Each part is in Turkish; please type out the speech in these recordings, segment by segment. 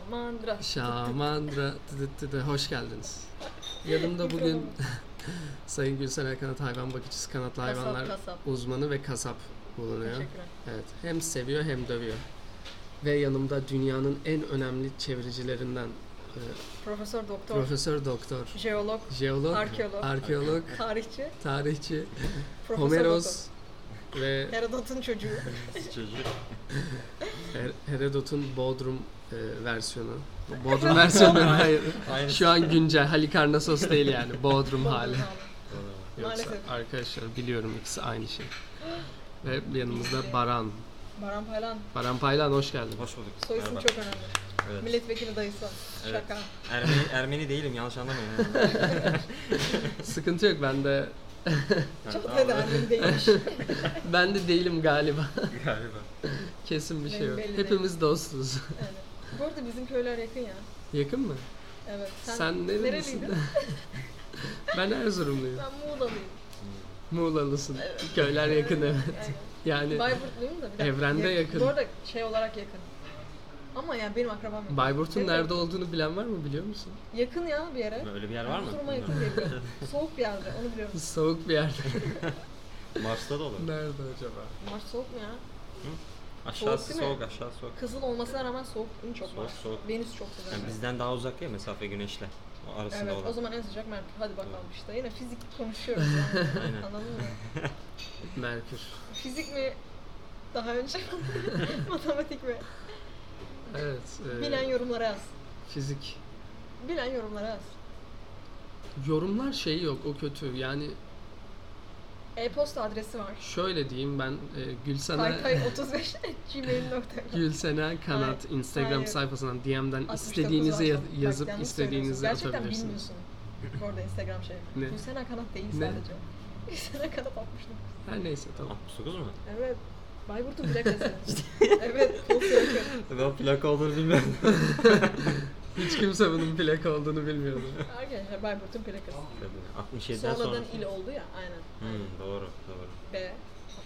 Şamandıra. Şamandıra dı dı dı dı. hoş geldiniz. Yanımda bugün Sayın Gülsen Erkanat hayvan bakıcısı kanatlı Kasap, hayvanlar kasap. uzmanı ve kasap bulunuyor. Teşekkürler. Evet. Hem seviyor hem dövüyor. Ve yanımda dünyanın en önemli çeviricilerinden e, Profesör doktor, Profesör Doktor, jeolog, jeolog, Arkeolog. arkeolog, tarihçi, tarihçi, profesör Homeros ve doktor. Herodot'un çocuğu. Çocuk. Her- Herodot'un Bodrum e, versiyonu. Bodrum versiyonu hayır. Aynı. Şu an güncel Halikarnassos değil yani Bodrum hali. Yoksa Maalesef. arkadaşlar biliyorum ikisi aynı şey. Ve yanımızda Baran. Baran Paylan. Baran Paylan hoş geldin. Hoş bulduk. Soy isim Merhaba. çok önemli. Evet. Milletvekili dayısı. Evet. Şaka. Ermeni, Ermeni değilim yanlış anlamayın. Yani. Sıkıntı yok ben de Çok Yani, da ama- değerli değilmiş. ben de değilim galiba. Galiba. Kesin bir şey Benim yok. belli Hepimiz dostuz. Evet. Bu arada bizim köyler yakın ya. Yakın mı? Evet. Sen, nerelisin? nereliydin? ben Erzurumluyum. Ben Muğla'lıyım. Muğlalısın. Köyler yakın evet. Yani Yani. Bayburtluyum da bir dakika. Evrende yakın. Bu arada şey olarak yakın. Ama yani benim akrabam yok. Bayburt'un Evet. nerede olduğunu bilen var mı biliyor musun? Yakın ya bir yere. Böyle bir yer var mı? Surma yakın diye biliyorum. şey Soğuk bir yerde onu biliyorum. Soğuk bir yerde. Mars'ta da olur. nerede acaba? Mars soğuk mu ya? Aşağısı Soğuk soğuk, değil mi? aşağı soğuk. Kızıl olmasına rağmen soğuk. Bunu çok Soğuk, var. soğuk. Venüs çok sıcak. Yani bizden daha uzak ya mesafe güneşle. O arasında Evet olan. o zaman en sıcak Merkür. Hadi bakalım işte. Yine fizik konuşuyoruz yani. Aynen. Anladın mı? Merkür. Fizik mi daha önce? Matematik mi? Evet. Ee, e, Bilen yorumlara yaz. fizik. Bilen yorumlara yaz. Yorumlar şeyi yok o kötü. Yani E-posta adresi var. şöyle diyeyim ben e, Gülsen'e Kaykay35 gmail.com Gülsen'e kanat Hayır, Instagram hayır. sayfasından DM'den 69 istediğinizi yaz- Bak, yazıp yanlış istediğinizi söylüyorsun. atabilirsiniz. Gerçekten bilmiyorsun. Bu arada Instagram şey. Ne? Gülsena Kanat değil Ne? sadece. Gülsena Kanat 69. Her neyse tamam. 69 mu? Evet. Bayburt'un plakası. evet. Kol Söker. Ben plaka olduğunu bilmiyorum. Hiç kimse bunun plak olduğunu bilmiyordu. Arkadaşlar Bayburt'un plakası. 67'den sonra. Sonradan il oldu ya aynen. Hmm, doğru, doğru. B.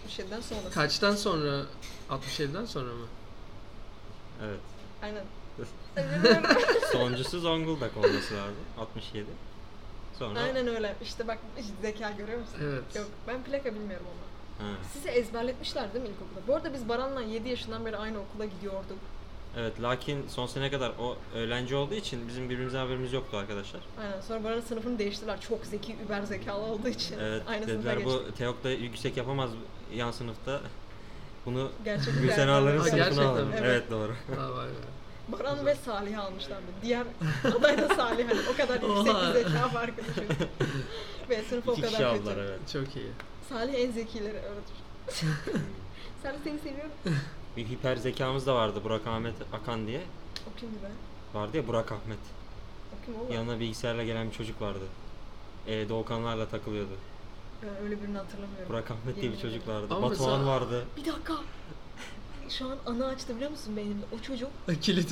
67'den sonra. Kaçtan sonra? 67'den sonra mı? Evet. Aynen. Sonuncusu Zonguldak olması lazım. 67. Sonra... aynen öyle. İşte bak işte zeka görüyor musun? Evet. Yok ben plaka bilmiyorum ama. Ha. Sizi ezberletmişler değil mi ilkokulda? Bu arada biz Baran'la 7 yaşından beri aynı okula gidiyorduk. Evet lakin son sene kadar o öğrenci olduğu için bizim birbirimizden haberimiz yoktu arkadaşlar. Aynen sonra Baran'ın sınıfını değiştirdiler. Çok zeki, über zekalı olduğu için. Evet aynı sınıfa dediler geçtik. bu Teok da yüksek yapamaz yan sınıfta. Bunu Gerçek bir Gülsen değerlendirme. Ağlar'ın Ha, sınıfına gerçekten alalım. mi? Evet. doğru. Aa, vay be. Baran ve Salih almışlardı. Diğer aday da Salih hani o kadar yüksek Oha. bir zeka farkı düşün. ve sınıf o İki kişi kadar aldılar kötü. evet. Çok iyi. Salih en zekileri öyle düşün. Salih seni seviyorum. Bir hiper zekamız da vardı Burak Ahmet Akan diye. O kimdi be? Vardı ya Burak Ahmet. O kim oğlum? Yanına bilgisayarla gelen bir çocuk vardı. Ee, Doğukanlarla takılıyordu. Ben öyle birini hatırlamıyorum. Burak Ahmet diye bir Yemin çocuk ederim. vardı. Ama Batuhan mesela- vardı. Bir dakika. Şu an ana açtı biliyor musun beynimde? O çocuk Kilit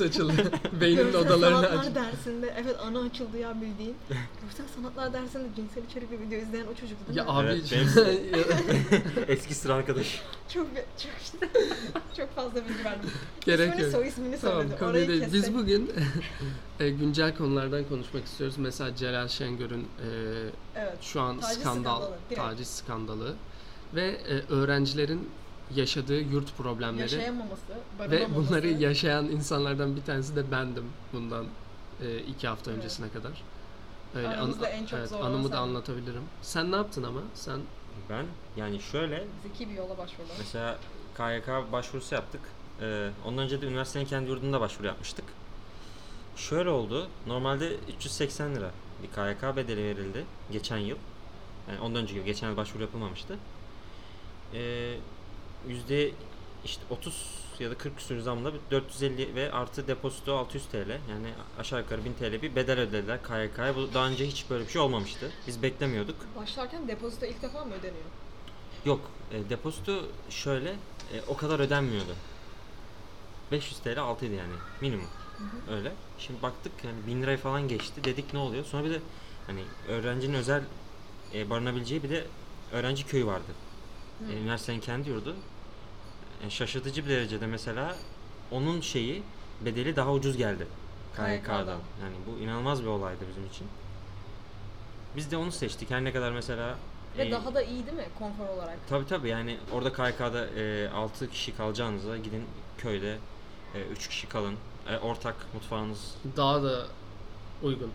açıldı. Beynimin Görsel odalarını sanatlar açtı. dersinde evet ana açıldı ya bildiğin. Görsel sanatlar dersinde cinsel içerikli video izleyen o çocuk değil Ya mi? abi Evet, benim- Eski sıra arkadaş. Çok çok çok fazla bilgi verdim. gerek ismini, yok. soy ismini Tamam söyledim. konuyu Orayı değil. kestim. Biz bugün e, güncel konulardan konuşmak istiyoruz. Mesela Celal Şengör'ün e, Evet. şu an Taciz skandal, skandalı, direkt. taciz skandalı ve e, öğrencilerin yaşadığı yurt problemleri Yaşayamaması, ve barınamaması. bunları yaşayan insanlardan bir tanesi de bendim bundan e, iki hafta Evet. öncesine kadar. Aramızda en çok zorlanan anımı da sen. anlatabilirim. Sen ne yaptın ama? Sen Ben yani şöyle Zeki bir yola başvurular. Mesela KYK başvurusu yaptık. Ee, ondan önce de üniversitenin kendi yurdunda başvuru yapmıştık. Şöyle oldu. Normalde 380 lira bir KYK bedeli verildi geçen yıl. Yani ondan önceki yıl geçen yıl başvuru yapılmamıştı. Ee, yüzde işte 30 ya da 40 küsür zamla bir 450 ve artı depozito 600 TL yani aşağı yukarı 1000 TL bir bedel ödediler KYK'ya. Bu daha önce hiç böyle bir şey olmamıştı. Biz beklemiyorduk. Başlarken depozito ilk defa mı ödeniyor? Yok, e, depozito şöyle e, o kadar ödenmiyordu. 500 TL altıydı yani minimum. Öyle. Şimdi baktık yani 1000 lirayı falan geçti. Dedik ne oluyor? Sonra bir de hani öğrencinin özel e, barınabileceği bir de öğrenci köyü vardı. Hı. E, üniversitenin kendi yurdu. E, şaşırtıcı bir derecede mesela onun şeyi bedeli daha ucuz geldi. KYK'dan. Yani bu inanılmaz bir olaydı bizim için. Biz de onu seçtik. Her ne kadar mesela Ve e, daha da iyi değil mi konfor olarak? Tabii tabii yani orada KYK'da e, 6 kişi kalacağınıza gidin köyde e, 3 kişi kalın. E, ortak mutfağınız. Daha da uygun.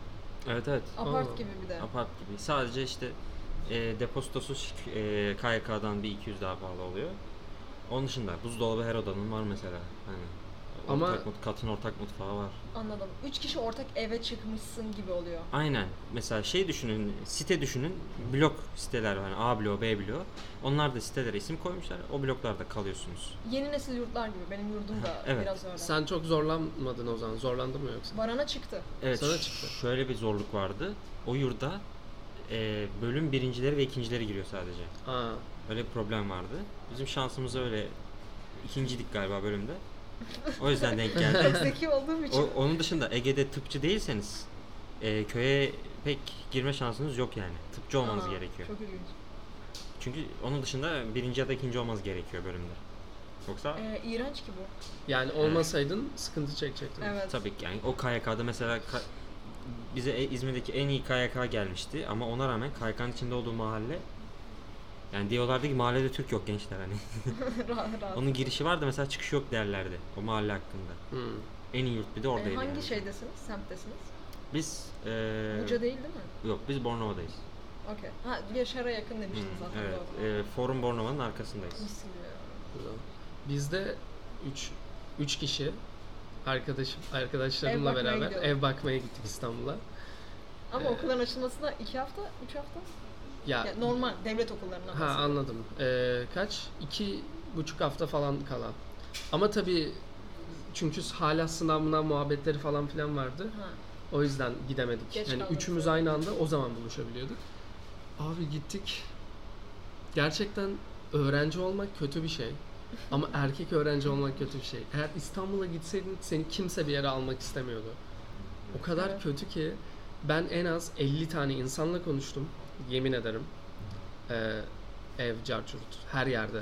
Evet evet. Apart Aa. gibi bir de. Apart gibi. Sadece işte e, depozitosu şi- e, KYK'dan bir 200 daha pahalı oluyor. Onun dışında buzdolabı her odanın var mesela. Hani Ama- ortak mut- katın ortak mutfağı var. Anladım. Üç kişi ortak eve çıkmışsın gibi oluyor. Aynen. Mesela şey düşünün, site düşünün. Blok siteler var. Yani A bloğu, B bloğu. Onlar da sitelere isim koymuşlar. O bloklarda kalıyorsunuz. Yeni nesil yurtlar gibi. Benim yurdum da evet. biraz öyle. Sen çok zorlanmadın o zaman. Zorlandın mı yoksa? Barana çıktı. Evet. Sana ş- çıktı. Şöyle bir zorluk vardı. O yurda e, bölüm birincileri ve ikincileri giriyor sadece. Aa, Öyle bir problem vardı. Bizim şansımız öyle ikincilik galiba bölümde. O yüzden denk Çok geldi. zeki olduğum için. O- onun dışında Ege'de tıpçı değilseniz e, köye pek girme şansınız yok yani. Tıpçı olmanız Aa, gerekiyor. Çok ilginç. Çünkü onun dışında birinci ya da ikinci olmanız gerekiyor bölümde. Yoksa Ee, iğrenç ki bu. yani olmasaydın sıkıntı çekecektin. Evet. tabii ki yani o KYK'da mesela ka- bize e- İzmir'deki en iyi KYK gelmişti ama ona rağmen KYK'nın içinde olduğu mahalle yani diyorlardı ki mahallede Türk yok gençler hani. rahat rahat. Onun girişi vardı mesela çıkışı yok derlerdi o mahalle hakkında. Hmm. En iyi yurt bir de Ee, oradaydı. hangi yani. Ee, şeydesiniz? Semttesiniz? Biz eee, Buca değil değil mi? yok biz Bornova'dayız. Okey. Ha Yaşar'a yakın Hmm, demiştiniz zaten. evet. doğru. eee, Forum Bornova'nın arkasındayız. Mis gibi ya. Güzel. Bizde 3 3 kişi arkadaşım arkadaşlarımla Ev bakmaya beraber gidiyorlar. ev bakmaya gittik İstanbul'a. Ee, Ama okulların açılmasına iki hafta, üç hafta? Ya, Ya, normal devlet okullarına. ha Ha, anladım. Ee, kaç? İki buçuk hafta falan kala. Ama tabii çünkü hala sınav mınav muhabbetleri falan filan vardı. ha. O yüzden gidemedik. Geç yani kaldınız, üçümüz evet. aynı anda o zaman buluşabiliyorduk. Abi gittik. Gerçekten öğrenci olmak kötü bir şey. Ama erkek öğrenci olmak kötü bir şey. Eğer İstanbul'a gitseydin seni kimse bir yere almak istemiyordu. O kadar Evet. kötü ki ben en az 50 tane insanla konuştum. Yemin ederim. Ee, ev, carçurt, her yerde.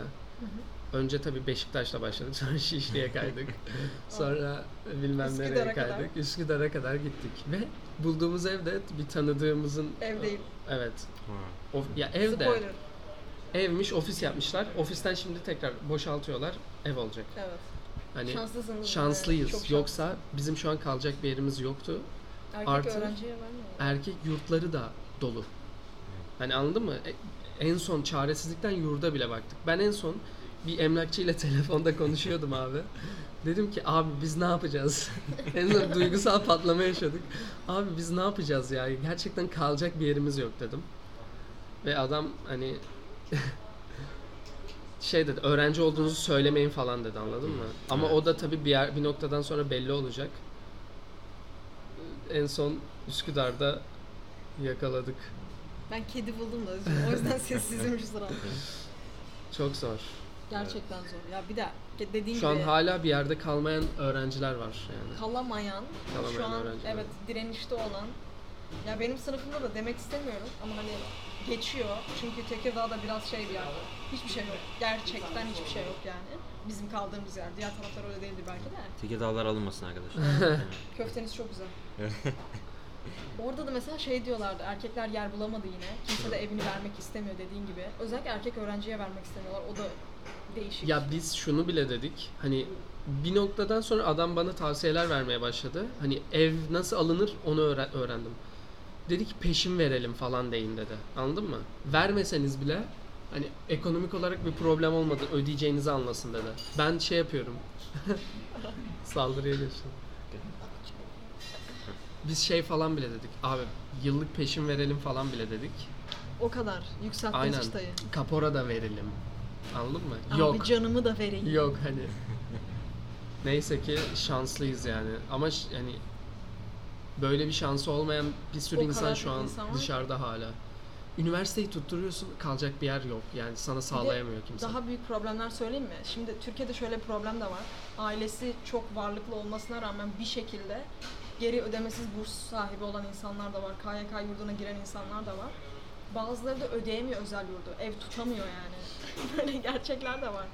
Önce tabii Beşiktaş'la başladık. Sonra Şişli'ye kaydık. sonra bilmem Üsküdar'a nereye kadar. kaydık. Üsküdar'a kadar gittik. Ve bulduğumuz evde bir tanıdığımızın... Ev değil. Evet. Ha. Of, ya evde. Spoiler. Evmiş, ofis yapmışlar. Ofisten şimdi tekrar boşaltıyorlar. Ev olacak. Evet. Hani Şanslısınız. şanslıyız. Çok şanslı. Yoksa bizim şu an kalacak bir yerimiz yoktu. Erkek artı- öğrenciye vermiyor. erkek yurtları da dolu. Hani anladın mı? E- En son çaresizlikten yurda bile baktık. Ben en son bir emlakçıyla telefonda konuşuyordum abi. Dedim ki abi biz ne yapacağız? en son duygusal patlama yaşadık. Abi biz ne yapacağız ya? Gerçekten kalacak bir yerimiz yok dedim. Ve adam hani şey dedi öğrenci olduğunuzu söylemeyin falan dedi anladın mı? Ama o da tabii bir, yer, bir noktadan sonra belli olacak. En son Üsküdar'da yakaladık. Ben kedi buldum da özür O yüzden sessizim şu sıra. Çok zor. Gerçekten zor. Ya bir de dediğin Şu an gibi hala bir yerde kalmayan öğrenciler var yani. kalamayan, Kalamayan şu an öğrenciler. evet direnişte olan. Ya benim sınıfımda da demek istemiyorum ama hani geçiyor. Çünkü Tekirdağ'da biraz şey bir yer. Hiçbir şey yok. Gerçekten hiçbir şey yok yani. Bizim kaldığımız yer. Diğer taraflar öyle değildir belki de. Tekirdağlar alınmasın arkadaşlar. Köfteniz çok güzel. Orada da mesela şey diyorlardı, erkekler yer bulamadı yine. Kimse de evini vermek istemiyor dediğin gibi. Özellikle erkek öğrenciye vermek istemiyorlar. O da değişik. Ya biz şunu bile dedik. Hani bir noktadan sonra adam bana tavsiyeler vermeye başladı. Hani ev nasıl alınır onu öğre- öğrendim. Dedi ki peşin verelim falan deyin dedi. Anladın mı? Vermeseniz bile hani ekonomik olarak bir problem olmadı ödeyeceğinizi anlasın dedi. Ben şey yapıyorum. Saldırıya geçtim. Biz şey falan bile dedik. Abi yıllık peşin verelim falan bile dedik. o kadar. Yükselttin Aynen. çıtayı. Kapora da verelim. Anladın mı? Abi Yok. canımı da vereyim. Yok hani. Neyse ki şanslıyız yani. Ama ş- hani böyle bir şansı olmayan bir sürü O insan kadar şu çok an insan var ki. dışarıda hala. Üniversiteyi tutturuyorsun kalacak bir yer yok. Yani sana sağlayamıyor kimse. Daha büyük problemler söyleyeyim mi? Şimdi Türkiye'de şöyle bir problem de var. Ailesi çok varlıklı olmasına rağmen bir şekilde geri ödemesiz burs sahibi olan insanlar da var. KYK yurduna giren insanlar da var. Bazıları da ödeyemiyor özel yurdu. Ev tutamıyor yani. Böyle gerçekler de var.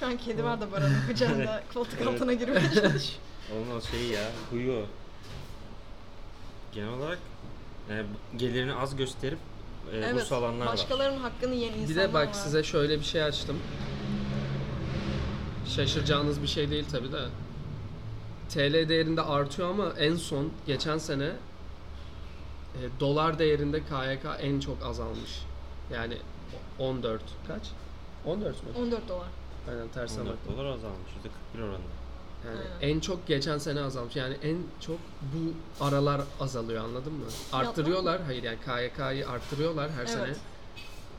Şu an kedi var da Baran'ın kucağında koltuk altına girmeye çalışıyor. Onun o şeyi ya, huyu. o. genel olarak e, gelirini az gösterip e, burs alanlar var. başkalarının hakkını yiyen Bir insanlar de bak var. size şöyle bir şey açtım. Şaşıracağınız bir şey değil tabi de. TL değerinde artıyor ama en son geçen sene e, dolar değerinde KYK en çok azalmış. Yani 14 kaç? 14 mü? 14 dolar. Aynen tersine 14 baktım. dolar azalmış %41 oranında. Yani Aynen. en çok geçen sene azalmış. Yani en çok bu aralar azalıyor anladın mı? Arttırıyorlar. Hayır yani KYK'yı arttırıyorlar her Evet. sene.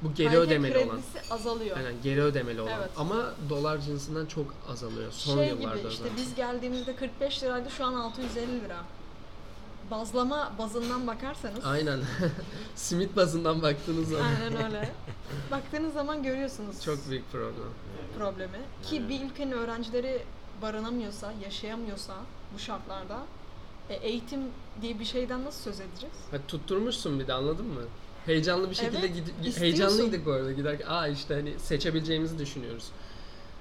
Bu geri Hayata ödemeli olan. kredisi azalıyor. Aynen geri ödemeli olan. Evet. Ama dolar cinsinden çok azalıyor son şey yıllarda gibi işte zaten. biz geldiğimizde 45 liraydı şu an 650 lira. Bazlama bazından bakarsanız Aynen. Simit bazından baktığınız zaman aynen öyle. Baktığınız zaman görüyorsunuz çok büyük problem. problemi. Ki bir ülkenin öğrencileri barınamıyorsa, yaşayamıyorsa bu şartlarda e, eğitim diye bir şeyden nasıl söz edeceğiz? Ha, tutturmuşsun bir de anladın mı? Heyecanlı bir şekilde Evet, gidi- istiyorsun. heyecanlıydık bu arada giderken. Aa işte hani seçebileceğimizi düşünüyoruz.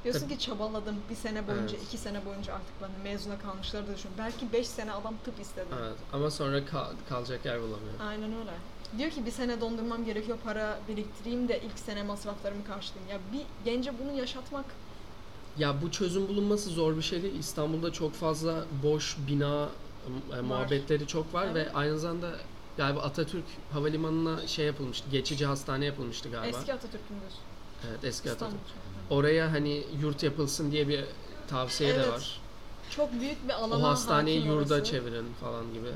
Diyorsun Tabii. ki çabaladım bir sene boyunca, Evet. iki sene boyunca artık ben mezuna kalmışları da düşün. Belki beş sene adam tıp istedi. Evet. Ama sonra kal- kalacak yer bulamıyor. Aynen öyle. Diyor ki bir sene dondurmam gerekiyor para biriktireyim de ilk sene masraflarımı karşılayayım. Ya bir gence bunu yaşatmak Ya bu çözüm bulunması zor bir şey değil. İstanbul'da çok fazla boş bina e, muhabbetleri çok var ve Evet. aynı zamanda galiba Atatürk Havalimanı'na şey yapılmıştı. Geçici hastane yapılmıştı galiba. eski Atatürk'ün diyorsun. Evet eski İstanbul. Atatürk. Oraya hani yurt yapılsın diye bir tavsiye Evet, de var. Çok büyük bir alana O hastaneyi hakim yurda orası. çevirin falan gibi.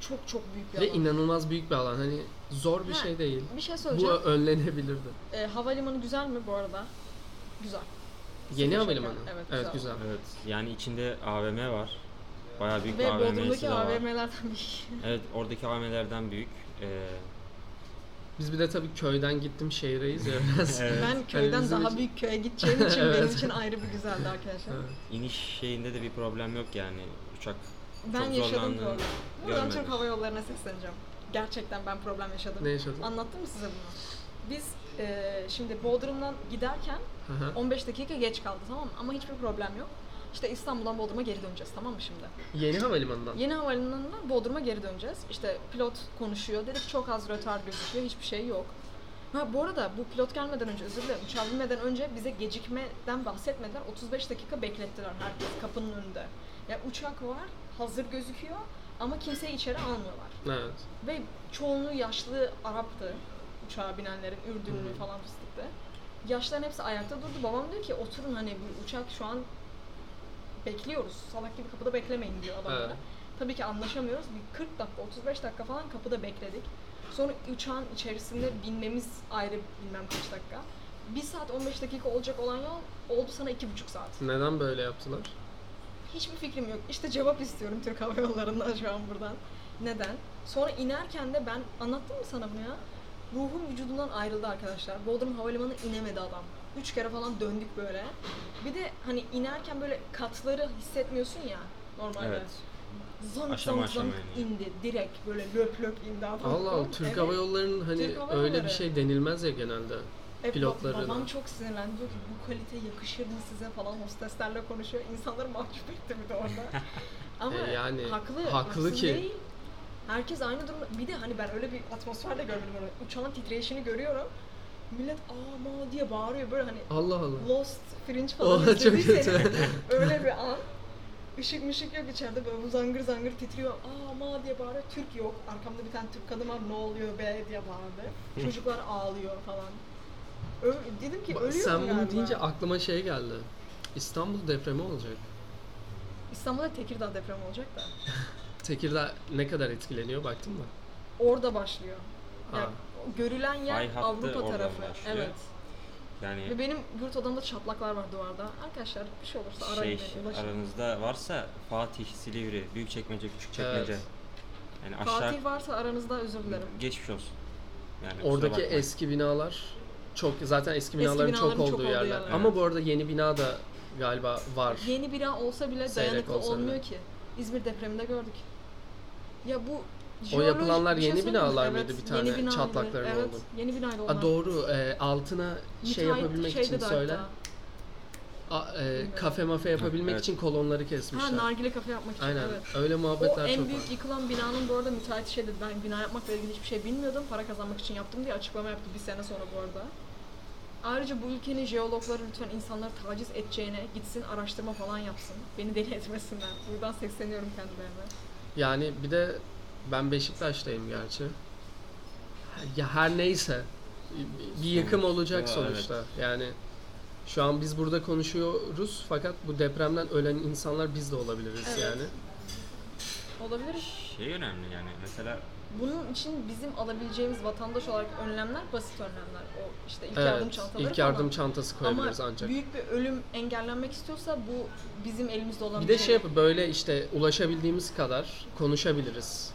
Çok çok büyük bir Ve alan. inanılmaz büyük bir alan. Hani zor bir Ha, şey değil. bir şey Bu söyleyeceğim. önlenebilirdi. E, havalimanı güzel mi bu arada? Güzel. Yeni şeker. havalimanı. Evet, Evet güzel. güzel. Evet. Yani içinde AVM var. Bayağı büyük bir Ve AVM'si Bodrum'daki de var. AVM'lerden bir Evet oradaki AVM'lerden büyük. Ee, Biz bir de tabii köyden gittim şehreyiz ya biraz. evet. Ben köyden bizim daha için- büyük köye gideceğim için Evet. benim için ayrı bir güzeldi arkadaşlar. Evet. İniş şeyinde de bir problem yok yani uçak. Ben Çok yaşadım zorlandığını problem. Buradan görmedim. Türk Hava Yolları'na sesleneceğim. Gerçekten ben problem yaşadım. Ne yaşadın? Anlattım mı size bunu? Biz e, şimdi Bodrum'dan giderken Hı hı. 15 dakika geç kaldı tamam mı? Ama hiçbir problem yok. İşte İstanbul'dan Bodrum'a geri döneceğiz tamam mı şimdi? Yeni havalimanından. Yeni havalimanından Bodrum'a geri döneceğiz. İşte pilot konuşuyor. Dedik çok az rötar gözüküyor. Hiçbir şey yok. Ha bu arada bu pilot gelmeden önce özür dilerim. Uçağa binmeden önce bize gecikmeden bahsetmediler. 35 dakika beklettiler herkes kapının önünde. Ya uçak var, hazır gözüküyor ama kimseyi içeri almıyorlar. Evet. Ve çoğunluğu yaşlı Arap'tı. Uçağa binenlerin Ürdünlü falan fıstıktı. Yaşlıların hepsi ayakta durdu. Babam diyor ki oturun hani bu uçak şu an bekliyoruz. Salak gibi kapıda beklemeyin diyor adamlara. Evet. Tabii ki anlaşamıyoruz. Bir 40 dakika, 35 dakika falan kapıda bekledik. Sonra uçağın içerisinde binmemiz ayrı bilmem kaç dakika. 1 saat 15 dakika olacak olan yol oldu sana 2,5 saat. Neden böyle yaptılar? Hiçbir fikrim yok. İşte cevap istiyorum Türk Hava Yolları'ndan şu an buradan. Neden? Sonra inerken de ben anlattım mı sana bunu ya? Ruhum vücudumdan ayrıldı arkadaşlar. Bodrum Havalimanı inemedi adam. Üç kere falan döndük böyle. Bir de hani inerken böyle katları hissetmiyorsun ya normalde. Evet. Zonk Aşama zonk zonk aşama iniyor. indi direkt böyle löp löp indi adam. Allah Allah Türk Evet. Hava Yolları'nın hani Türk Hava öyle bir Yolları. şey denilmez ya genelde. E, ba- pilotlarına. Babam çok sinirlendi. Diyor ki bu kalite yakışır mı size falan hosteslerle konuşuyor. İnsanları mahcup etti bir de orada. Ama E, yani, haklı, haklı haksız ki. değil. Herkes aynı durumda. Bir de hani ben öyle bir atmosferde görmedim onu. Uçağın titreşini görüyorum. Millet ama diye bağırıyor böyle hani Allah Allah. Lost Fringe falan Oha Oh, çok izlediyseniz kötü. öyle bir an. Işık mışık yok içeride böyle bu zangır zangır titriyor. Aa ma diye bağırıyor. Türk yok. Arkamda bir tane Türk kadın var. Ne oluyor be diye bağırdı. Çocuklar ağlıyor falan. Ö- dedim ki Bak, ölüyorum Sen galiba. bunu deyince aklıma şey geldi. İstanbul depremi olacak. İstanbul'da Tekirdağ depremi olacak da. Tekirdağ ne kadar etkileniyor baktın mı? Orada başlıyor. Yani Ha. görülen yer Fay hattı Avrupa oradan tarafı. başlıyor. Evet. Ve Yani benim yurt odamda çatlaklar var duvarda. Arkadaşlar bir şey olursa arayın şey beni. Ulaşın. aranızda varsa Fatih, Silivri, Büyükçekmece, Küçükçekmece. Evet. Yani aşağı Fatih varsa aranızda özür dilerim. geçmiş olsun. Yani kusura Oradaki bakmayın. eski binalar çok zaten eski binaların, binaların çok çok olduğu olduğu yerler. yerler. Ama bu arada yeni bina da galiba var. Yeni bira olsa bile Seyrek dayanıklı olsa bile. olmuyor ki. İzmir depreminde gördük. Ya bu O jeolojik yapılanlar bir şey yeni söyleyeyim mi? binalar Evet, mıydı? Bir tane yeni binaydı. çatlakların evet, oldu. Yeni binaydı onlar. A doğru e, altına şey Müteahhit yapabilmek şeydi için de söyle. hatta. a- e, kafe mafe yapabilmek evet. için kolonları kesmişler. Ha nargile kafe yapmak için. Aynen. Evet. Öyle O muhabbetler en çok büyük var. yıkılan binanın bu arada müteahhiti şey dedi. Ben bina yapmakla ilgili hiçbir şey bilmiyordum. Para kazanmak için yaptım diye açıklama yaptı bir sene sonra bu arada. Ayrıca bu ülkenin jeologları lütfen insanları taciz edeceğine gitsin araştırma falan yapsın. Beni deli etmesinler. Buradan sesleniyorum kendilerine. Yani bir de ben Beşiktaş'tayım gerçi. Ya her neyse bir yıkım Sonuçta, olacak evet. sonuçta. Yani şu an biz burada konuşuyoruz fakat bu depremden ölen insanlar biz de olabiliriz Evet. yani. Olabilir. Şey önemli yani mesela Bunun için bizim alabileceğimiz vatandaş olarak önlemler basit önlemler. O işte ilk yardım Evet. çantaları İlk yardım falan. çantası Ama koyabiliriz ancak. büyük bir ölüm engellenmek istiyorsa bu bizim elimizde olan Bir de şey. şey yap böyle işte ulaşabildiğimiz kadar konuşabiliriz.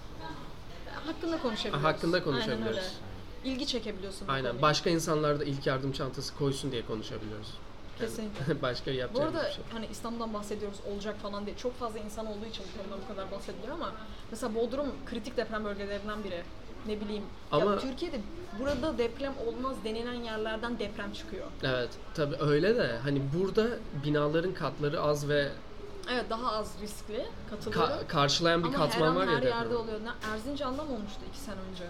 Hakkında konuşabiliyoruz. Hakkında Aynen öyle. konuşabiliriz. İlgi çekebiliyorsun. bu Aynen. konuya. Başka insanlar da ilk yardım çantası koysun diye konuşabiliyoruz. Kesinlikle. Başka Bu yapacağımız arada bir şey. hani İstanbul'dan bahsediyoruz olacak falan diye çok fazla insan olduğu için bu konuda bu kadar bahsediliyor ama mesela Bodrum kritik deprem bölgelerinden biri. Ne bileyim. Ama- Ya Türkiye'de burada deprem olmaz denilen yerlerden deprem çıkıyor. Evet. Tabii öyle de hani burada binaların katları az ve Evet daha az riskli katılıyorum. ka- karşılayan bir ama her katman an var ya her deprem. yerde oluyor. Ne- Erzincan'da mı olmuştu iki sene önce?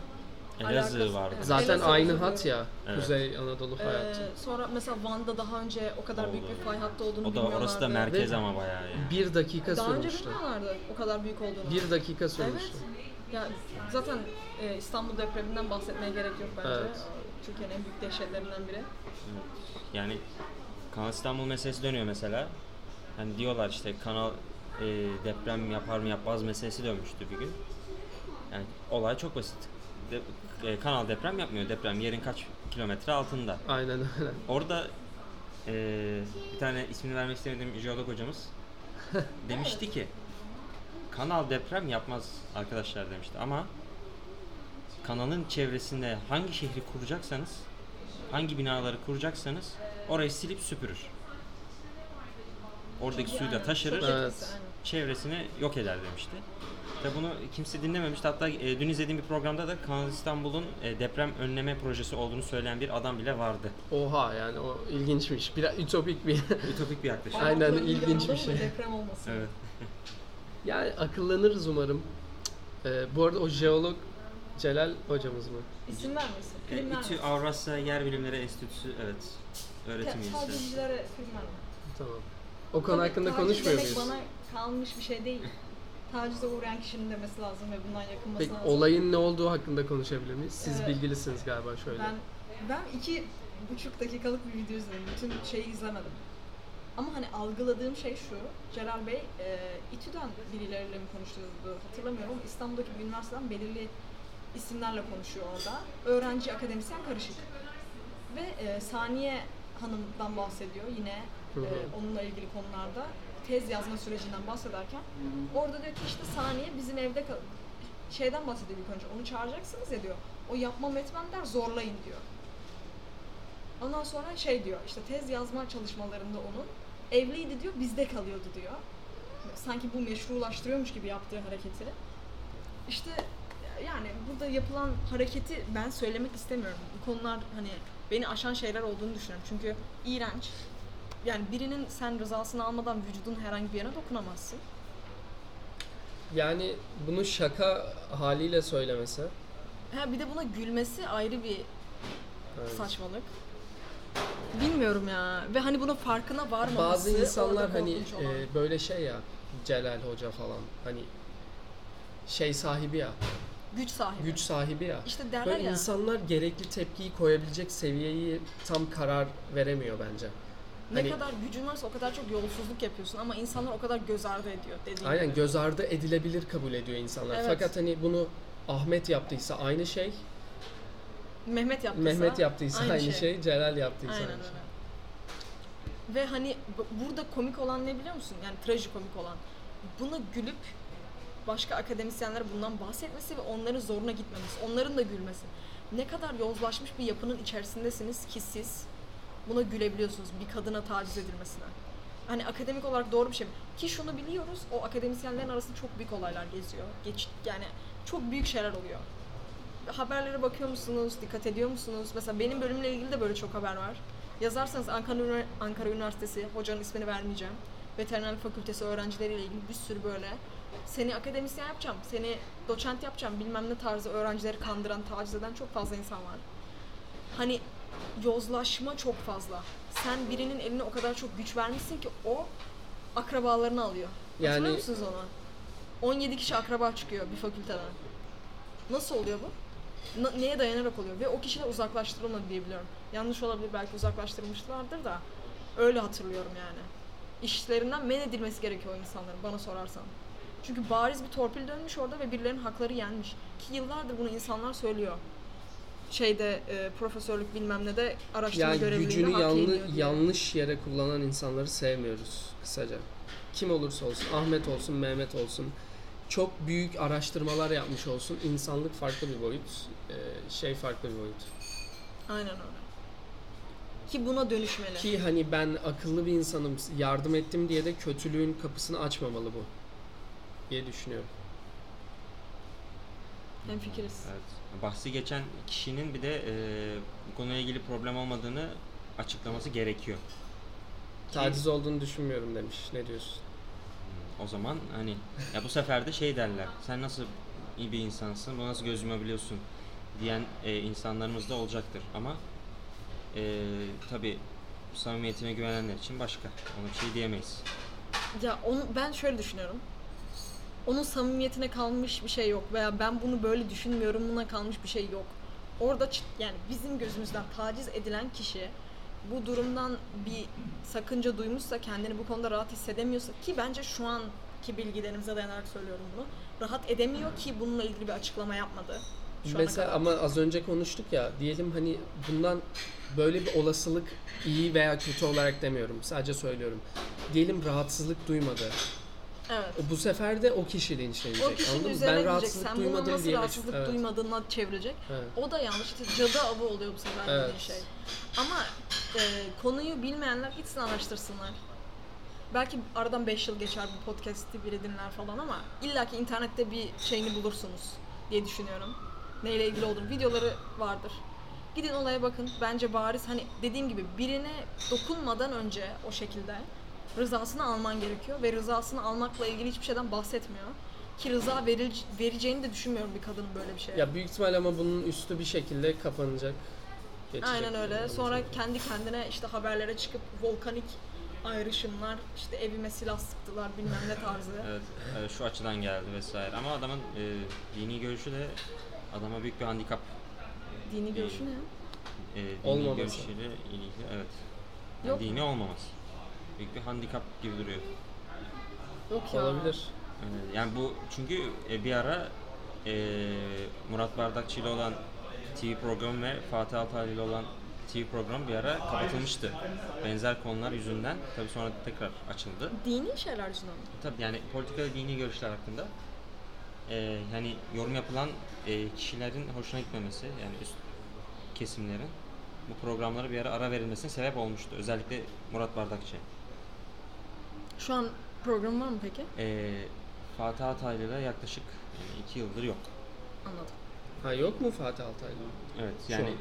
Elazığ Alakası- vardı. Evet. Zaten Elazığ aynı oluyor. hat ya. Evet. Kuzey Anadolu Ee, hayatı. sonra mesela Van'da daha önce o kadar büyük Oldu. bir fay hattı olduğunu O da orası da bilmiyorlardı. merkez Ve- ama bayağı yani. Bir dakika Daha önce sürmüştü. bilmiyorlardı o kadar büyük olduğunu. Bir dakika Evet. sürmüştü. Ya zaten e, İstanbul depreminden bahsetmeye gerek yok bence. Evet. Türkiye'nin en büyük dehşetlerinden biri. Yani Kanal İstanbul meselesi dönüyor mesela. Hani diyorlar işte kanal e, deprem yapar mı yapmaz meselesi dönmüştü bir gün. Yani olay çok basit. De- e, kanal deprem yapmıyor. Deprem yerin kaç kilometre altında. Aynen öyle. Orada e, bir tane ismini vermek istemediğim jeolog hocamız demişti ki kanal deprem yapmaz arkadaşlar demişti ama kanalın çevresinde hangi şehri kuracaksanız hangi binaları kuracaksanız orayı silip süpürür. Oradaki suyu da Aynen, taşırır, çok etkisi, Evet. aynen. çevresini yok eder demişti. Tabi bunu kimse dinlememişti. Hatta e, dün izlediğim bir programda da Kanal İstanbul'un e, deprem önleme projesi olduğunu söyleyen bir adam bile vardı. Oha yani o ilginçmiş. Biraz ütopik bir Ütopik bir yaklaşım. Aynen, Ama bunun ilginç bir yanında şey. Deprem olmasın. Evet. Yani akıllanırız umarım. Ee, bu arada o jeolog Celal hocamız mı? İsim vermesin. E, Film vermesin. İTÜ Avrasya Yer Bilimleri Enstitüsü evet öğretim Te- üyesi. Tacizcilere film vermesin. Tamam. O konu hakkında Taciz konuşmuyor demek muyuz? bana kalmış bir şey değil. Tacize uğrayan kişinin demesi lazım ve bundan yakınması Peki lazım. olayın ne olduğu hakkında konuşabilir miyiz? Siz Evet. bilgilisiniz galiba şöyle. Ben ben iki buçuk dakikalık bir video izledim. Bütün şeyi izlemedim. Ama hani algıladığım şey şu. Celal Bey e, İTÜ'den birileriyle mi konuştuğunuzu hatırlamıyorum ama İstanbul'daki bir üniversiteden belirli isimlerle konuşuyor orada. Öğrenci, akademisyen karışık. Ve e, Saniye Hanım'dan bahsediyor yine Hı hı. e, onunla ilgili konularda tez yazma sürecinden bahsederken orada diyor ki işte Saniye bizim evde kal- şeyden bahsediyor ilk önce onu çağıracaksınız ya diyor o yapmam etmem der zorlayın diyor. Ondan sonra şey diyor işte tez yazma çalışmalarında onun evliydi diyor bizde kalıyordu diyor. Sanki bu meşrulaştırıyormuş gibi yaptığı hareketi. İşte yani burada yapılan hareketi ben söylemek istemiyorum. Bu konular hani beni aşan şeyler olduğunu düşünüyorum. Çünkü iğrenç. Yani birinin sen rızasını almadan vücudun herhangi bir yerine dokunamazsın. Yani bunu şaka haliyle söylemesi. Ha bir de buna gülmesi ayrı bir Evet. saçmalık. Bilmiyorum ya. Ve hani bunun farkına varmaması Bazı insanlar orada hani korkunç olan. e, böyle şey ya Celal Hoca falan hani şey sahibi ya, güç sahibi. güç sahibi ya. İşte derler Böyle ya. insanlar gerekli tepkiyi koyabilecek seviyeyi tam karar veremiyor bence. ne hani- kadar gücün varsa o kadar çok yolsuzluk yapıyorsun ama insanlar o kadar göz ardı ediyor dediğin Aynen gibi. göz ardı edilebilir kabul ediyor insanlar. Evet. Fakat hani bunu Ahmet yaptıysa aynı şey, Mehmet yaptıysa. Mehmet yaptıysa aynı, şey. Celal yaptıysa Aynen aynı şey. öyle. Ve hani bu- burada komik olan ne biliyor musun? Yani trajikomik olan. Buna gülüp başka akademisyenlere bundan bahsetmesi ve onların zoruna gitmemesi, onların da gülmesi. Ne kadar yozlaşmış bir yapının içerisindesiniz ki siz buna gülebiliyorsunuz bir kadına taciz edilmesine. Hani akademik olarak doğru bir şey mi? Ki şunu biliyoruz, o akademisyenlerin arasında çok büyük olaylar geziyor. Geç, yani çok büyük şeyler oluyor haberlere bakıyor musunuz? Dikkat ediyor musunuz? Mesela benim bölümle ilgili de böyle çok haber var. Yazarsanız Ankara, Üniver- Ankara Üniversitesi, hocanın ismini vermeyeceğim. Veterinerlik fakültesi öğrencileriyle ilgili bir sürü böyle seni akademisyen yapacağım, seni doçent yapacağım bilmem ne tarzı öğrencileri kandıran, taciz eden çok fazla insan var. Hani yozlaşma çok fazla. Sen birinin eline o kadar çok güç vermişsin ki o akrabalarını alıyor. Yani- Hatırlıyor musunuz onu? 17 kişi akraba çıkıyor bir fakülteden. Nasıl oluyor bu? Na- neye dayanarak oluyor? Ve o kişiler uzaklaştırılmadı diye biliyorum. Yanlış olabilir belki uzaklaştırmışlardır da öyle hatırlıyorum yani. İşlerinden men edilmesi gerekiyor o insanların bana sorarsan. Çünkü bariz bir torpil dönmüş orada ve birilerinin hakları yenmiş. Ki yıllardır bunu insanlar söylüyor. Şeyde e, profesörlük bilmem ne de araştırma Yani görevliliğinde gücünü hak yanlı- yeniyor diye. yanlış yere kullanan insanları sevmiyoruz kısaca. Kim olursa olsun, Ahmet olsun, Mehmet olsun. Çok büyük araştırmalar yapmış olsun. İnsanlık farklı bir boyut, e, şey farklı bir boyut. Aynen öyle. Ki buna dönüşmeli. Ki hani ben akıllı bir insanım, yardım ettim diye de kötülüğün kapısını açmamalı bu diye düşünüyorum. Hem fikiriz. Evet. Bahsi geçen kişinin bir de e, bu konuyla ilgili problem olmadığını açıklaması gerekiyor. Taciz olduğunu düşünmüyorum demiş. Ne diyorsun? O zaman hani ya bu sefer de şey derler. Sen nasıl iyi bir insansın? Bu nasıl göz yumabiliyorsun? diyen e, insanlarımız da olacaktır. Ama e, tabii samimiyetine güvenenler için başka. Ona bir şey diyemeyiz. Ya onu ben şöyle düşünüyorum. Onun samimiyetine kalmış bir şey yok veya ben bunu böyle düşünmüyorum buna kalmış bir şey yok. Orada çı- yani bizim gözümüzden taciz edilen kişi bu durumdan bir sakınca duymuşsa kendini bu konuda rahat hissedemiyorsa ki bence şu anki bilgilerimize dayanarak söylüyorum bunu. Rahat edemiyor ki bununla ilgili bir açıklama yapmadı. Şu ana Mesela kadar. ama az önce konuştuk ya diyelim hani bundan böyle bir olasılık iyi veya kötü olarak demiyorum sadece söylüyorum. Diyelim rahatsızlık duymadı. evet. O- Bu sefer de o kişi linçlenecek. O kişinin şey, anladın mı? üzerine Ben gidecek. rahatsızlık Sen bunu duymadım nasıl diye. rahatsızlık evet. duymadığına çevirecek. Evet. O da yanlış. İşte cadı avı oluyor bu sefer dediğin Evet. şey. Ama e, konuyu bilmeyenler gitsin araştırsınlar. Belki aradan 5 yıl geçer bu podcast'i biri dinler falan ama illaki internette bir şeyini bulursunuz diye düşünüyorum. Neyle ilgili olduğunu. Videoları vardır. Gidin olaya bakın. Bence bariz hani dediğim gibi birine dokunmadan önce o şekilde rızasını alman gerekiyor ve rızasını almakla ilgili hiçbir şeyden bahsetmiyor. Ki rıza veril- vereceğini de düşünmüyorum bir kadının böyle bir şeye. Ya büyük ihtimal ama bunun üstü bir şekilde kapanacak. geçecek. Aynen öyle. Olacak. Sonra kendi kendine işte haberlere çıkıp volkanik ayrışımlar, işte evime silah sıktılar bilmem ne tarzı. Evet, e, şu açıdan geldi vesaire. Ama adamın e, dini görüşü de adama büyük bir handikap. Dini görüşü ne? E, dini Olmaması. görüşüyle ilgili evet. Yani Yok mu? dini olmaması. Büyük bir handikap gibi duruyor. Yok ya. olabilir. Ee, Yani bu çünkü e, bir ara e, Murat Bardakçı ile olan TV programı ve Fatih Altaylı ile olan TV programı bir ara kapatılmıştı. Benzer konular yüzünden tabii sonra tekrar açıldı. Dini şeyler yüzünden mi? Tabii yani politika ve dini görüşler hakkında e, yani yorum yapılan e, kişilerin hoşuna gitmemesi yani üst kesimlerin bu programlara bir ara ara verilmesine sebep olmuştu. Özellikle Murat Bardakçı. Şu an program var mı peki? E, Fatih Altaylı'da yaklaşık yani iki yıldır yok. Anladım. Ha yok mu Fatih Altaylı? Evet Şu yani.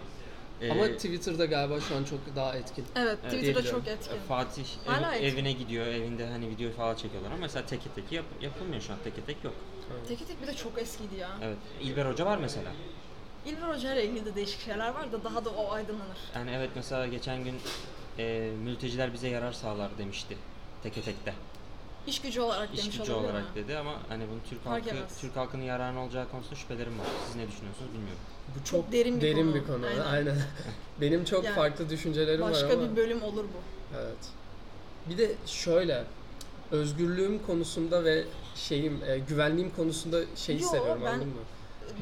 e, Ama Twitter'da galiba şu an çok daha etkin. Evet, Evet, Twitter'da diyebiliyorum. çok etkin. Fatih ev- Hala etkin. evine gidiyor, evinde hani video falan çekiyorlar ama mesela teke teki yap, yapılmıyor şu an, teke tek yok. Teki tek bir de çok eskiydi ya. Evet, İlber Hoca var mesela. İlber Hoca ile ilgili de değişik şeyler var da daha da o aydınlanır. Yani evet mesela geçen gün e, mülteciler bize yarar sağlar demişti teke tekte. İş gücü olarak İş demiş gücü olabilir olarak mi? dedi ama hani bunun Türk Fark halkı, etmez. Türk halkının yararına olacağı konusunda şüphelerim var. Siz ne düşünüyorsunuz bilmiyorum. Bu çok, Çok derin bir konu. Aynen. Aynen. Benim çok Yani farklı düşüncelerim var Başka ama. bir bölüm olur bu. Evet. Bir de şöyle özgürlüğüm konusunda ve şeyim e, güvenliğim konusunda şey Yo, hissediyorum ben- anladın mı?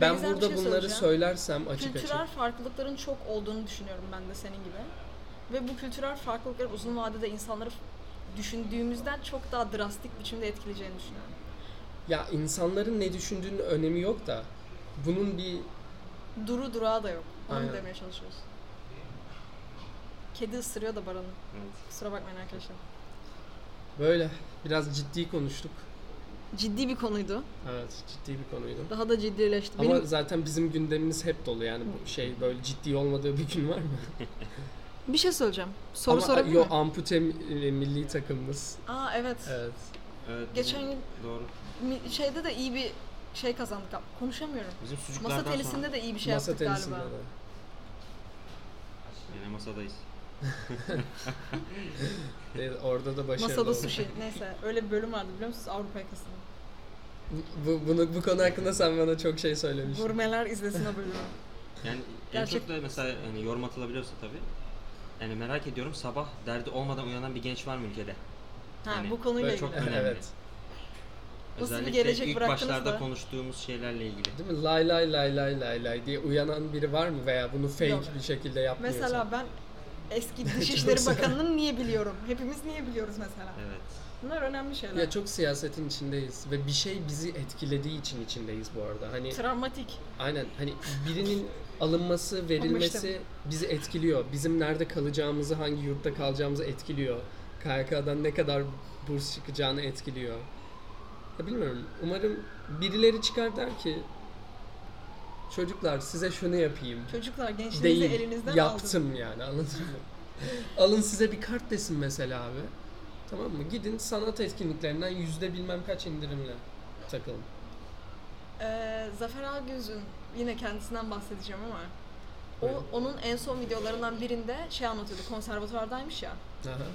Ben Benzer bir burada şey bunları söyleyeceğim. söylersem açık kültürel açık. farklılıkların çok olduğunu düşünüyorum ben de senin gibi. Ve bu kültürel farklılıklar uzun vadede insanları düşündüğümüzden çok daha drastik biçimde etkileyeceğini düşünüyorum. Ya insanların ne düşündüğünün önemi yok da bunun bir Duru durağı da yok. Onu Aynen. demeye çalışıyoruz. Kedi ısırıyor da Baran'ı. Evet. Kusura bakmayın arkadaşlar. böyle biraz ciddi konuştuk. Ciddi bir konuydu. Evet ciddi bir konuydu. Daha da ciddileşti. Ama Benim zaten bizim gündemimiz hep dolu yani bu şey böyle ciddi olmadığı bir gün var mı? Bir şey söyleyeceğim. Soru Ama sorabilir yo miyim? ampute e, milli takımımız. Aa evet. Evet. Evet, Geçen bizim- yıl- Doğru. Mi- Şeyde de iyi bir şey kazandık. Konuşamıyorum. Bizim sucuklardan Masa sonra- tenisinde de iyi bir şey Masa yaptık tenisinde galiba. de. Yine masadayız. Evet, E, orada da başarılı Masada olduk. sushi. Neyse öyle bir bölüm vardı biliyor musunuz Avrupa yakasında. Bu, bunu, bu konu hakkında sen bana çok şey söylemiştin. Gurmeler izlesin o bölümü. Yani en Gerçek- çok da mesela hani yorum atılabiliyorsa tabii. Yani merak ediyorum sabah derdi olmadan uyanan bir genç var mı ülkede? Ha Hani Yani bu konuyla böyle ilgili. çok- Önemli. evet. Nasıl bir Özellikle gelecek ilk bıraktınız başlarda da? konuştuğumuz şeylerle ilgili. Değil mi? Lay lay lay lay lay lay diye uyanan biri var mı veya bunu fake Yok. bir şekilde yapmıyorsa? Mesela ben eski Çok Dışişleri güzel. Bakanı'nı niye biliyorum? Hepimiz niye biliyoruz mesela? Evet. Bunlar önemli şeyler. Ya çok siyasetin içindeyiz ve bir şey bizi etkilediği için içindeyiz bu arada. Hani Travmatik. aynen hani birinin alınması, verilmesi bizi etkiliyor. Bizim nerede kalacağımızı, hangi yurtta kalacağımızı etkiliyor. KYK'dan ne kadar burs çıkacağını etkiliyor. Ya bilmiyorum. Umarım birileri çıkar der ki çocuklar size şunu yapayım. Çocuklar gençliğinizi Değil. elinizden Yaptım aldım. yani anladın mı? Alın size bir kart desin mesela abi. Tamam mı? Gidin sanat etkinliklerinden yüzde bilmem kaç indirimle takılın. Ee, Zafer Algöz'ün yine kendisinden bahsedeceğim ama Evet. o, onun en son videolarından birinde şey anlatıyordu. Konservatuvardaymış ya Aha. İstanbul.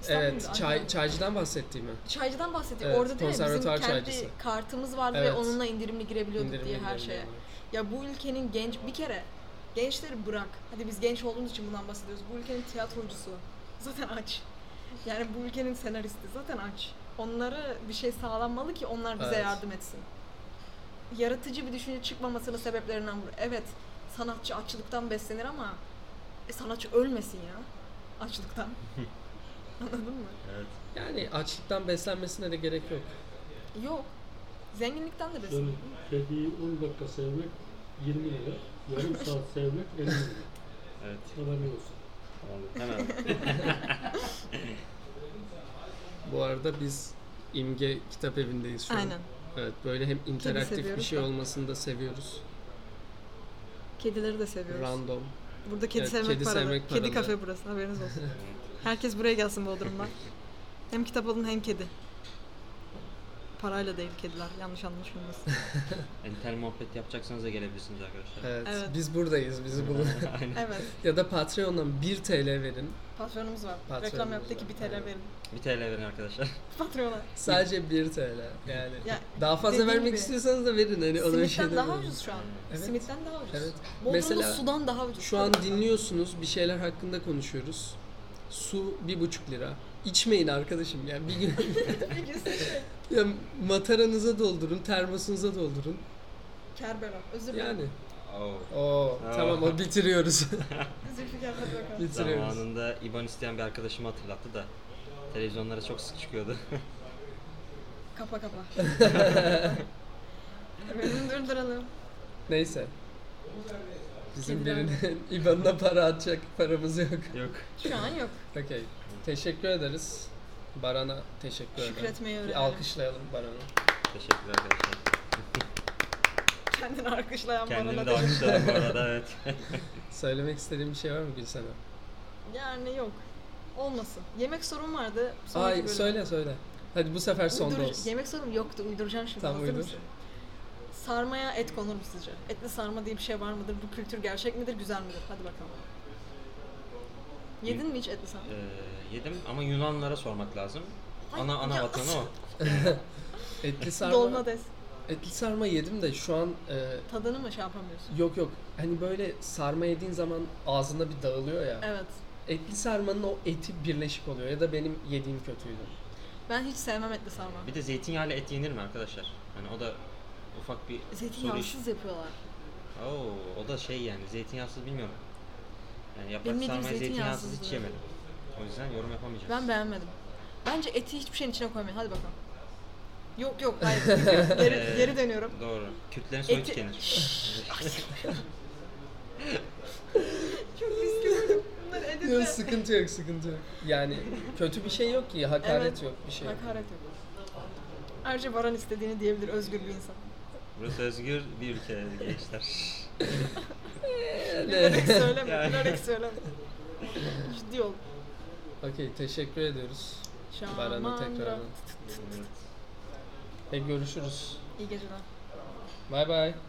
İstanbul Evet, muydu? çay, Ankara. çaycıdan bahsettiğimi. Çaycıdan bahsediyor. Evet, Orada değil mi? Bizim konservatuvar kendi çaycısı. kartımız vardı Evet. ve onunla indirimli girebiliyorduk İndirimli diye her indirimli şeye. indirimli. Ya bu ülkenin genç bir kere gençleri bırak. Hadi biz genç olduğumuz için bundan bahsediyoruz. Bu ülkenin tiyatrocusu zaten aç. Yani bu ülkenin senaristi zaten aç. Onlara bir şey sağlanmalı ki onlar bize Evet. yardım etsin. Yaratıcı bir düşünce çıkmamasının sebeplerinden bu. Evet, sanatçı açlıktan beslenir ama e, sanatçı ölmesin ya açlıktan. Anladın mı? Evet. Yani açlıktan beslenmesine de gerek yok. Yok. Zenginlikten de beslenir. Yani kediyi 10 dakika sevmek 20 lira, yarım saat sevmek 50 lira. Evet. Haberin olsun. Hemen. Bu arada biz İmge Kitap Evi'ndeyiz şu an. Aynen. Evet, böyle hem interaktif bir seviyoruz şey da. olmasını da seviyoruz. Kedileri de seviyoruz. Random. Burada kedi Evet, sevmek kedi paralı. sevmek Kedi paralı. kafe burası haberiniz olsun. Herkes buraya gelsin Bodrum'dan. hem kitap alın hem kedi. Parayla değil kediler yanlış anlaşılmasın. yani tel muhabbet yapacaksanız da gelebilirsiniz arkadaşlar. Evet, Evet. biz buradayız, bizi bulun. Aynen. evet. ya da Patreon'dan 1 TL verin. Patronumuz var. Patronumuz Reklam yaptı ki var, bir TL evet. verin. Bir TL verin arkadaşlar. Patrona. Sadece 1 TL. Yani Ya, daha fazla dediğim vermek gibi. istiyorsanız da verin. Hani ona bir şey Simitten daha demiyorum. ucuz şu an. Evet. Simitten daha ucuz. Evet. Bodrum'da Mesela sudan daha ucuz. Şu an dinliyorsunuz, bir şeyler hakkında konuşuyoruz. Su bir buçuk lira. İçmeyin arkadaşım ya. Bir gün şey, ya mataranıza doldurun, termosunuza doldurun. Kerbela. Özür dilerim. Yani. Oo. Oo, tamam o bitiriyoruz. Zülfikar hadi bakalım. bitiriyoruz. Zamanında IBAN isteyen bir arkadaşımı hatırlattı da televizyonlara çok sık çıkıyordu. Kapa kapa. Benim durduralım. Neyse. Bizim Kediler. birinin IBAN'ına para atacak paramız yok. Yok. Şu an yok. Okey. Teşekkür ederiz. Baran'a teşekkür ederim. Şükretmeyi Bir öğrenelim. alkışlayalım Baran'ı. Teşekkürler arkadaşlar. Kendini alkışlayan Kendimi bana de da. alkışladım bu arada evet. Söylemek istediğim bir şey var mı Gülsen'e? Yani yok. Olmasın. Yemek sorum vardı. sonraki Ay bölüm. söyle söyle. Hadi bu sefer sonda Uydur- olsun. Yemek sorum yoktu. Uyduracağım şimdi. Tamam Hazır uydur. mısın? Sarmaya et konur mu sizce? Etli sarma diye bir şey var mıdır? Bu kültür gerçek midir? Güzel midir? Hadi bakalım. Yedin mi hiç etli sarma? Ee, yedim ama Yunanlara sormak lazım. Ana ana ya. vatanı o. Etli sarma. Dolma des. Etli sarma yedim de şu an e, Tadını mı şey yapamıyorsun? yok yok. Hani böyle sarma yediğin zaman ağzında bir dağılıyor ya. Evet. Etli sarmanın o eti birleşik oluyor ya da benim yediğim kötüydü. Ben hiç sevmem etli sarma. Bir de zeytinyağıyla et yenir mi arkadaşlar? Hani o da ufak bir soru işi. Zeytinyağsız yapıyorlar. Oo, o da şey yani zeytinyağsız bilmiyorum. Yani yaprak Bilmediğim sarmayı zeytinyağsız zeytinyağsız hiç bu. yemedim. O yüzden yorum yapamayacağız. Ben beğenmedim. Bence eti hiçbir şeyin içine koymayın. Hadi bakalım. Yok yok hayır. geri, Ee, geri dönüyorum. Doğru. Kürtlerin soyu Eti... tükenir. Şşş. Çok üzgünüm. Bunlar Yok editte. sıkıntı yok sıkıntı yok. Yani kötü bir şey yok ki hakaret Evet. yok bir şey. yok. Hakaret yok. Ayrıca Baran istediğini diyebilir özgür bir insan. Burası özgür bir ülke gençler. Bilerek söyleme, bilerek söyleme. Ciddi ol. Okey teşekkür ediyoruz. Baran'a Şamandıra. tekrar. E görüşürüz. İyi geceler. Bay bay.